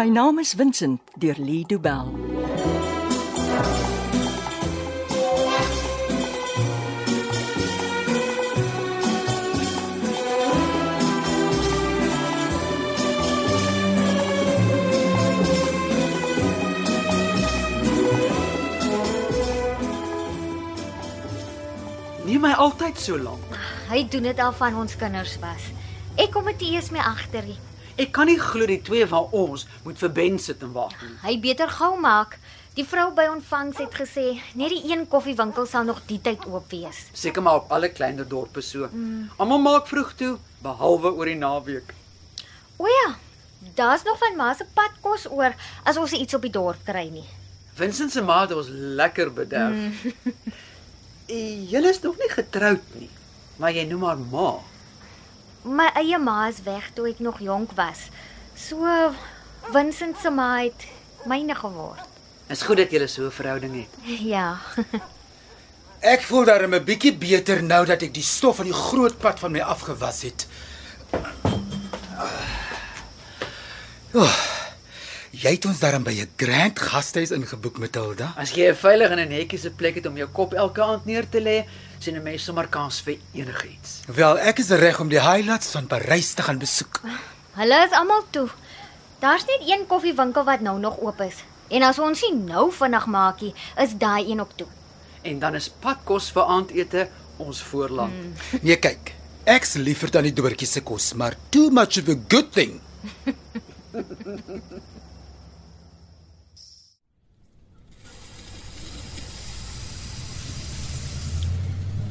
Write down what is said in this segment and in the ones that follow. My naam is Vincent deur Lee Du Bell. Neem my altyd so lank. Hy doen dit al van ons kinders was. Ek kom dit nie eers mee agter nie. Ek kan nie glo die twee van ons moet vir Ben sit en wag nie. Hy beter gou maak. Die vrou by ontvangs het gesê net die een koffiewinkel sal nog die tyd oop wees. Seker maar op alle kleiner dorpe so. Mm. Almal maak vroeg toe behalwe oor die naweek. O ja, daar's nog van ma se padkos oor as ons iets op die dorp kry nie. Vincent se ma het ons lekker bederf. Mm. Julle is nog nie getroud nie, maar jy noem haar ma. My eie ma is weg toe ek nog jonk was. So Vincent se ma het myne geword. Is goed dat julle so 'n verhouding het. Ja. Ek voel darem 'n bietjie beter nou dat ek die stof van die groot pad van my afgewas het. Oh, jy het ons darem by 'n grand gastehuis ingeboek met Hilda. As jy 'n veilig en 'n netjiese plek het om jou kop elke aand neer te lê, sien 'n mens sommer kans vir enigiets. Wel, ek is reg om die highlights van Parys te gaan besoek. Hulle is almal toe. Daar's net een koffiewinkel wat nou nog oop is. En as ons nie nou vinnig maakie, is daai een ook toe. En dan is padkos vir aandete ons voorland. Mm. Nee, kyk. Ek's liever dan die doortjie se kos, maar too much of a good thing.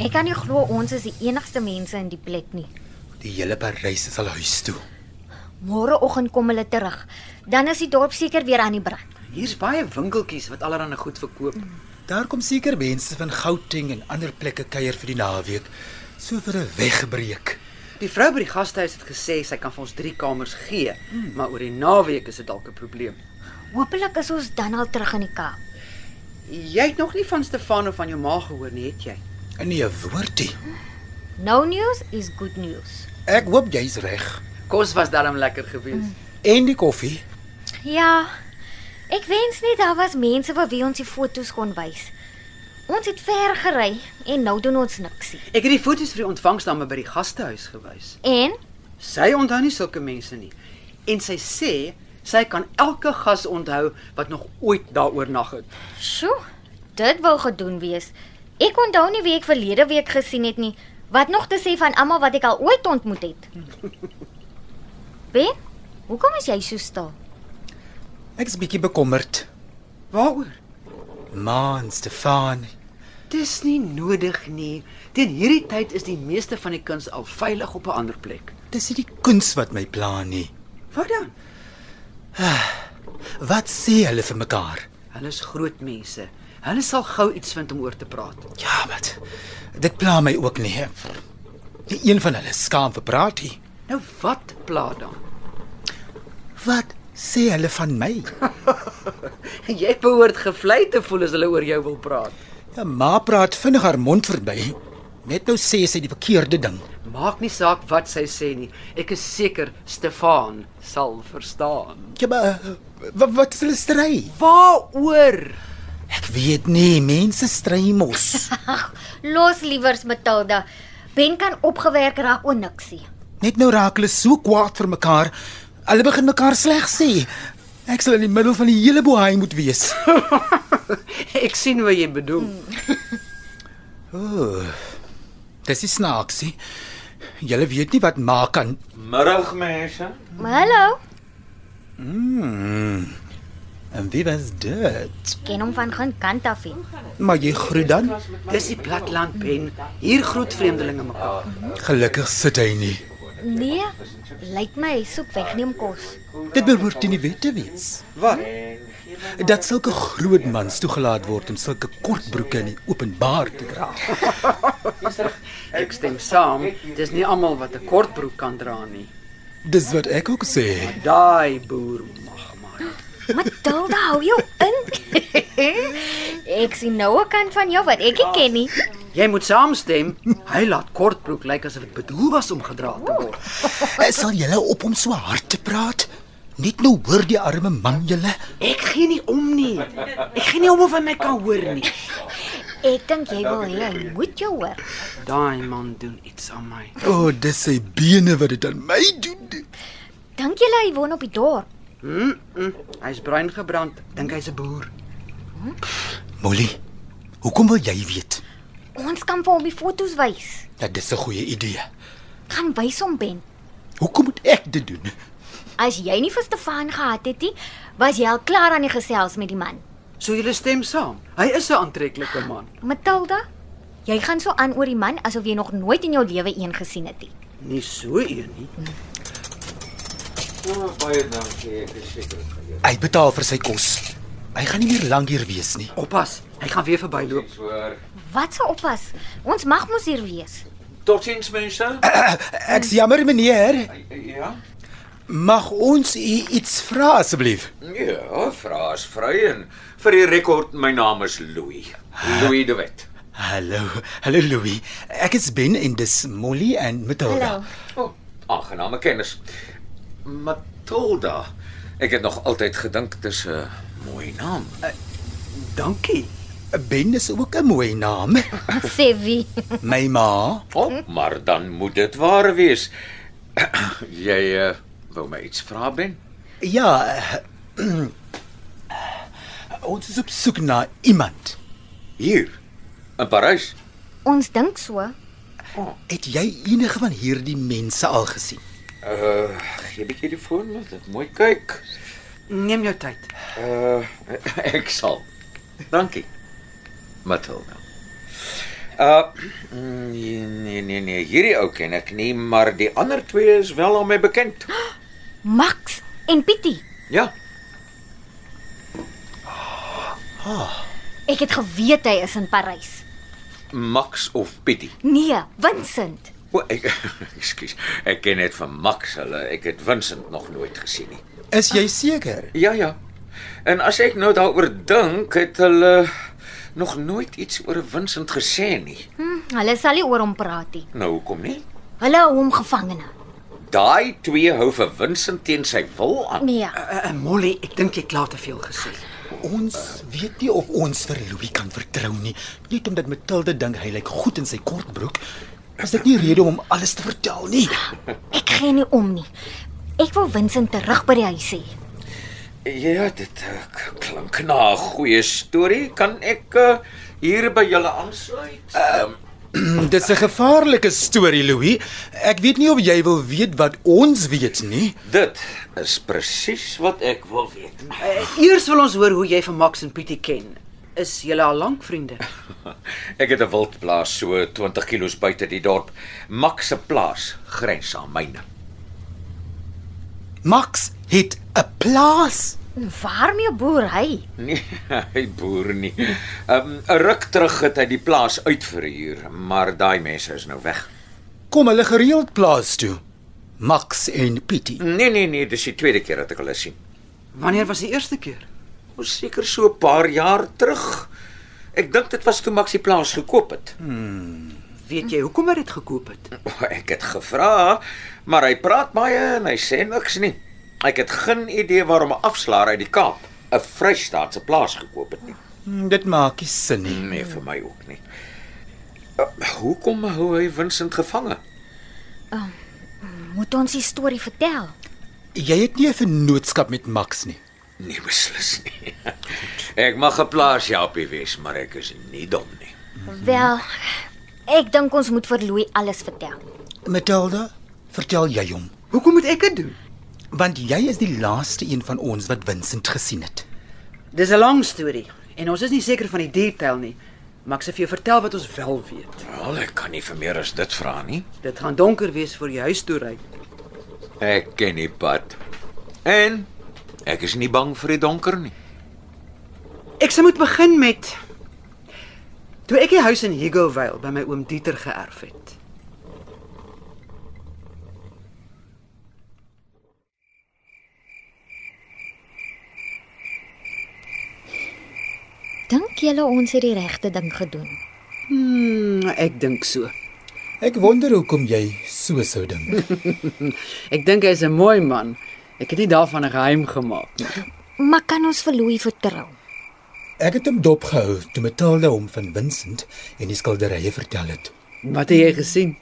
Ek kan nie glo ons is die enigste mense in die plek nie. Die hele Parys is al huis toe. Môreoggend kom hulle terug. Dan is die dorp seker weer aan die brand. Hier's baie winkeltjies wat allerlei goed verkoop. Daar kom seker mense van Gauteng en ander plekke kuier vir die naweek, so vir 'n wegbreek. Die vrou by die gastehuis het gesê sy kan vir ons 3 kamers gee, mm. maar oor die naweek is dit dalk 'n probleem. Hoopelik is ons dan al terug in die Kaap. Jy het nog nie van Stefan of van jou ma gehoor nie, het jy? En nie 'n woordie. No news Nou is good news. Ek hoop jy's reg. Kos was darm lekker gewees. Mm. En die koffie. Ja. Ek wens net daar was mense vir wie ons die foto's kon wys. Ons het ver gery en nou doen ons niks nie. Ek het die foto's vir die ontvangsdame by die gastehuis gewys. En Sy onthou nie sulke mense nie. En sy sê sy kan elke gas onthou wat nog ooit daaroor nag het. Sjoe, dit wou gedoen wees. Ek onthou nie wie ek verlede week gesien het nie. Wat nog te sê van almal wat ek al ooit ontmoet het. Ben, hoekom is jy so stil? Ek's bietjie bekommerd. Waaroor? Man, Stefan, Dis nie nodig nie. Teen hierdie tyd is die meeste van die kuns al veilig op 'n ander plek. dis nie die kuns wat my pla nie. Wat dan? Wat sê hulle vir mekaar? Hulle is groot mense. Hulle sal gou iets vind om oor te praat. Ja, wat. Dit pla my ook nie. Die een van hulle skaam vir praat hier. Nou wat pla dan? Wat sê hulle van my? Jy behoort gevlei te voel as hulle oor jou wil praat. Ja, ma praat vinnig haar mond verby. Net nou sê sy die verkeerde ding. Maak nie saak wat sy sê nie. Ek is seker Stefan sal verstaan. Ja, maar wat, wat is hulle stry? Waaroor? Ek weet nie, mense stry mos. Los liewers Matilda. Ben kan opgewerk raak oor niksie. Net nou raak hulle so kwaad vir mekaar. Hulle begin mekaar sleg sê. Ek sal in die middel van die hele boei moet wees. Ek sien wat jy bedoel. Ooh. Dis is snaaksie. Julle weet nie wat maak aan. Middag mense. Maar hallo, Mm. En wie was dit? ken hom van geen kant af nie. Maar jy groet dan? Dis die platland ben. Hier groet vreemdelinge mekaar. Gelukkig sit hy nie. Nee, lyk my hy soek wegneem kos. Dit behoort nie weet te wees. Wat? Dat sulke groot mans toegelaat word om sulke kort broeke in die openbaar te dra. Ek stem saam. Dis nie almal wat 'n kort broek kan dra nie. Dis wat ek ook sê. Daai boer mag maar. Matilda, hou jou in. ek sien nou 'n kant van jou wat ek nie ken nie. Jy moet saamstem. Hy laat kortbroek lyk asof dit bedoel was om gedra te word. Sal julle op hom so hard te praat? Net nou hoor die arme man julle. Ek gee nie om nie. Ek gee nie om of hy my kan hoor nie. Ek dink jy wil hê hy moet jou hoor. Daai man doen iets aan my. O, oh, dis sy bene wat dit aan my doen. Dink jy hy woon op die dorp? Mm -mm. Hy's bruin gebrand. Dink hy's 'n boer. Molly, hoekom wil jy weet? Ons kan vir hom die foto's wys. Dat dis 'n goeie idee. Gaan wys hom Ben. Hoekom moet ek dit doen? As jy nie vir Stefan gehad het nie, was jy al klaar aan die gesels met die man. So julle stem saam. Hy is 'n aantreklike man. Matilda, jy gaan so aan oor die man asof jy nog nooit in jou lewe een gesien het nie. Nie so een nie. Oh, baie dankie, ek is seker. Hy betaal vir sy kos. Hy gaan nie meer lank hier wees nie. Oppas, hy gaan weer verbyloop. Ek hoor. Wat se oppas. Ons mag mos hier wees. Totsiens mense. Ek's jammer meneer, Ja. mag ons u iets vra asseblief? Ja, vraas vry en vir die rekord, my naam is Louis. Louis de Wet. Hallo, hallo Louis. Ek is Ben en dis Molly en Matilda. Hallo. O, oh, aangename kennis. Matilda. Ek het nog altyd gedink dis 'n mooi naam. Dankie. Ben is ook 'n mooi naam. Ja. Sê wie? My ma. Oh, maar dan moet dit waar wees. Jy uh, wou my iets vra, Ben? Ja. eh, ons is op soek na iemand. Hier in Parys. Ons dink so. Het jy enige van hierdie mense al gesien? Uh, gee 'n bietjie die foon, laat dit mooi kyk. Neem jou tyd. Uh, ek sal. Dankie. Matilda. Uh nee nee nee nee, hierdie ou ken ek nie, maar die ander twee is wel aan my bekend. Max en Pietie. Ja. Ek het geweet hy is in Parys. Max of Pietie. Nee, Vincent. O, ek ekskuus. Ek ken net van Max hulle. Ek het Vincent nog nooit gesien nie. Is jy seker? Ja ja. En as ek nou daaroor dink, het hulle nog nooit iets oor Vincent gesê nie. Hm, hulle sal nie oor hom praat nie. Nou hoekom nie? Hulle hou hom gevangene. Daai twee hou vir Vincent teen sy wil aan. Nee. Uh, uh, Molly, ek dink jy klaar te veel gesê. Ons weet nie of ons vir Louis kan vertrou nie, net omdat Matilda dink hy lyk goed in sy kortbroek. Is dit nie rede om hom alles te vertel nie? Ek gee nie om nie. Ek wil Vincent terug by die huis hê. Ja, dit eh, k- klink na 'n goeie storie. Kan ek uh, hier by julle aansluit? Um, Mm, Dis 'n gevaarlike storie, Louis. Ek weet nie of jy wil weet wat ons weet nie. dit is presies wat ek wil weet. Uh, eers wil ons hoor hoe jy vir Max en Pietie ken. Is julle al lank vriende? Ek het 'n wildplaas so 20 km buite die dorp. Max se plaas grens aan myne. Max het 'n plaas. Waarmee boer hy? Nee, hy boer nie. Um 'n ruk terug het hy die plaas uitverhuur, maar daai mense is nou weg. Kom hulle gereeld plaas toe. Max en Pietie. Nee nee nee, dis die tweede keer dat ek hulle sien. Wanneer was die eerste keer? Ons seker so 'n paar jaar terug. Ek dink dit was toe Max die plaas gekoop het. Weet jy hoekom hy dit gekoop het? O, Ek het gevra, maar hy praat baie en hy sê niks nie. Ek het geen idee waarom 'n afslaer uit die Kaap 'n Vrystaatse plaas gekoop het nie. Mm, Dit maak nie sin nie. Nee, vir my ook nie. Uh, hoekom hou hy Vincent gevange? Moet ons die storie vertel? Jy het nie 'n vennootskap met Max nie. Nee, beslis nie. Ek mag 'n plaas helpie wees, maar ek is nie dom nie. Wel, ek dink ons moet vir Louis alles vertel. Matilda, vertel jy hom, Hoekom moet ek dit doen? want jy is die laaste een van ons wat Vincent gesien het. Dis 'n lang storie en ons is nie seker van die detail nie. Maar ek sê vir jou vertel wat ons wel weet. Wel, ek kan nie vir meer as dit vra nie. Dit gaan donker wees voor jy huis toe ry. Ek ken die pad. En ek is nie bang vir die donker nie. Ek se moet begin met toe ek die huis in Higgovale by my oom Dieter geërf het. Dink julle ons het die regte ding gedoen? Hmm, ek dink so. Ek wonder hoekom jy so sou dink. Ek dink hy's 'n mooi man Ek het nie daarvan 'n geheim gemaak nie. Maar kan ons vir Louis vertrou? Ek het hom dopgehou toe Matilda hom van Vincent en die skilderye vertel het. Wat het jy gesien?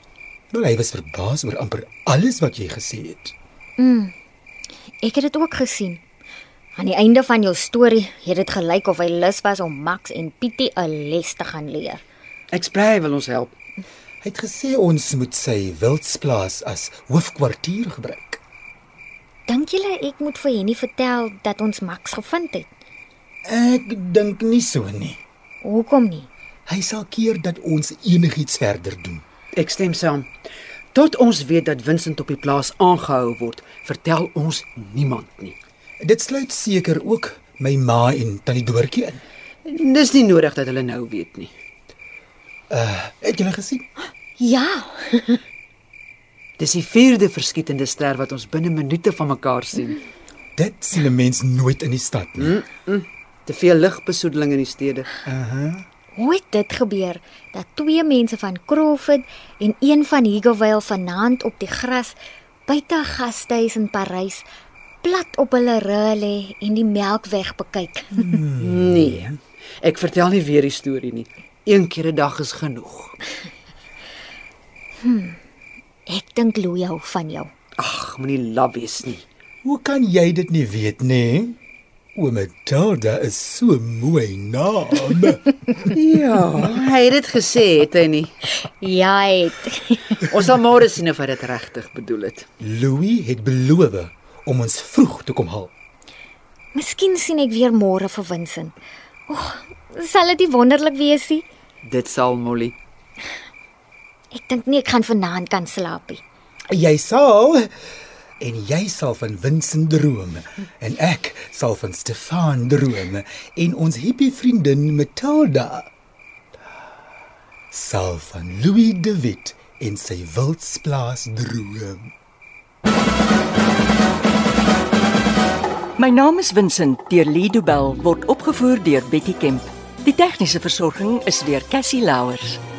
Wel hy was verbaas oor amper alles wat jy gesê het. Ek het dit ook gesien. Aan die einde van jou storie het dit gelyk of hy lus was om Max en Pietie 'n les te gaan leer. Ek sprei hy wil ons help. Hy het gesê ons moet sy wildsplaas as hoofkwartier gebruik. Dink julle ek moet vir Henny vertel dat ons Max gevind het? Ek dink nie so nie. Hoekom nie? Hy sal keer dat ons enigiets verder doen. Ek stem saam. Tot ons weet dat Vincent op die plaas aangehou word, vertel ons niemand nie. Dit sluit seker ook my ma en tannie Doortjie in. Dis nie nodig dat hulle nou weet nie. Het julle gesien? Ja, Dis die vierde verskietende ster wat ons binne minute van mekaar sien. Dit sien 'n mens nooit in die stad nie. Hmm? Te veel ligbesoedeling in die stede. hoe het dit gebeur dat twee mense van Crawford en een van Higgovale vanaand op die gras buite 'n gastehuis in Parys plat op hulle rug lê en die melk wegbekyk? Nee. Ek vertel nie weer die storie nie. Een keer 'n dag is genoeg. Ek dink Louis hou van jou. Ag, moenie laf wees nie. Hoe kan jy dit nie weet nie? Oomedalda is so 'n mooi naam. Ja, hy het dit gesê, het hy nie. Ja, hy het. Ons sal môre sien of hy dit regtig bedoel het. Louis het beloof om ons vroeg te kom haal. Miskien sien ek weer môre vir Vincent. Oeg, sal dit nie wonderlik wees nie? Dit sal Molly. Ek dink nie ek gaan vanaand kan slaap nie. Jy sal en jy sal van Vincent droom en ek sal van Stefan droom en ons hippie vriendin Matilda sal van Louis de Wit en sy wildsplaas droom. My naam is Vincent deur Lido Bell word opgevoer deur Betty Kemp. Die tegniese versorging is deur Cassie Louers.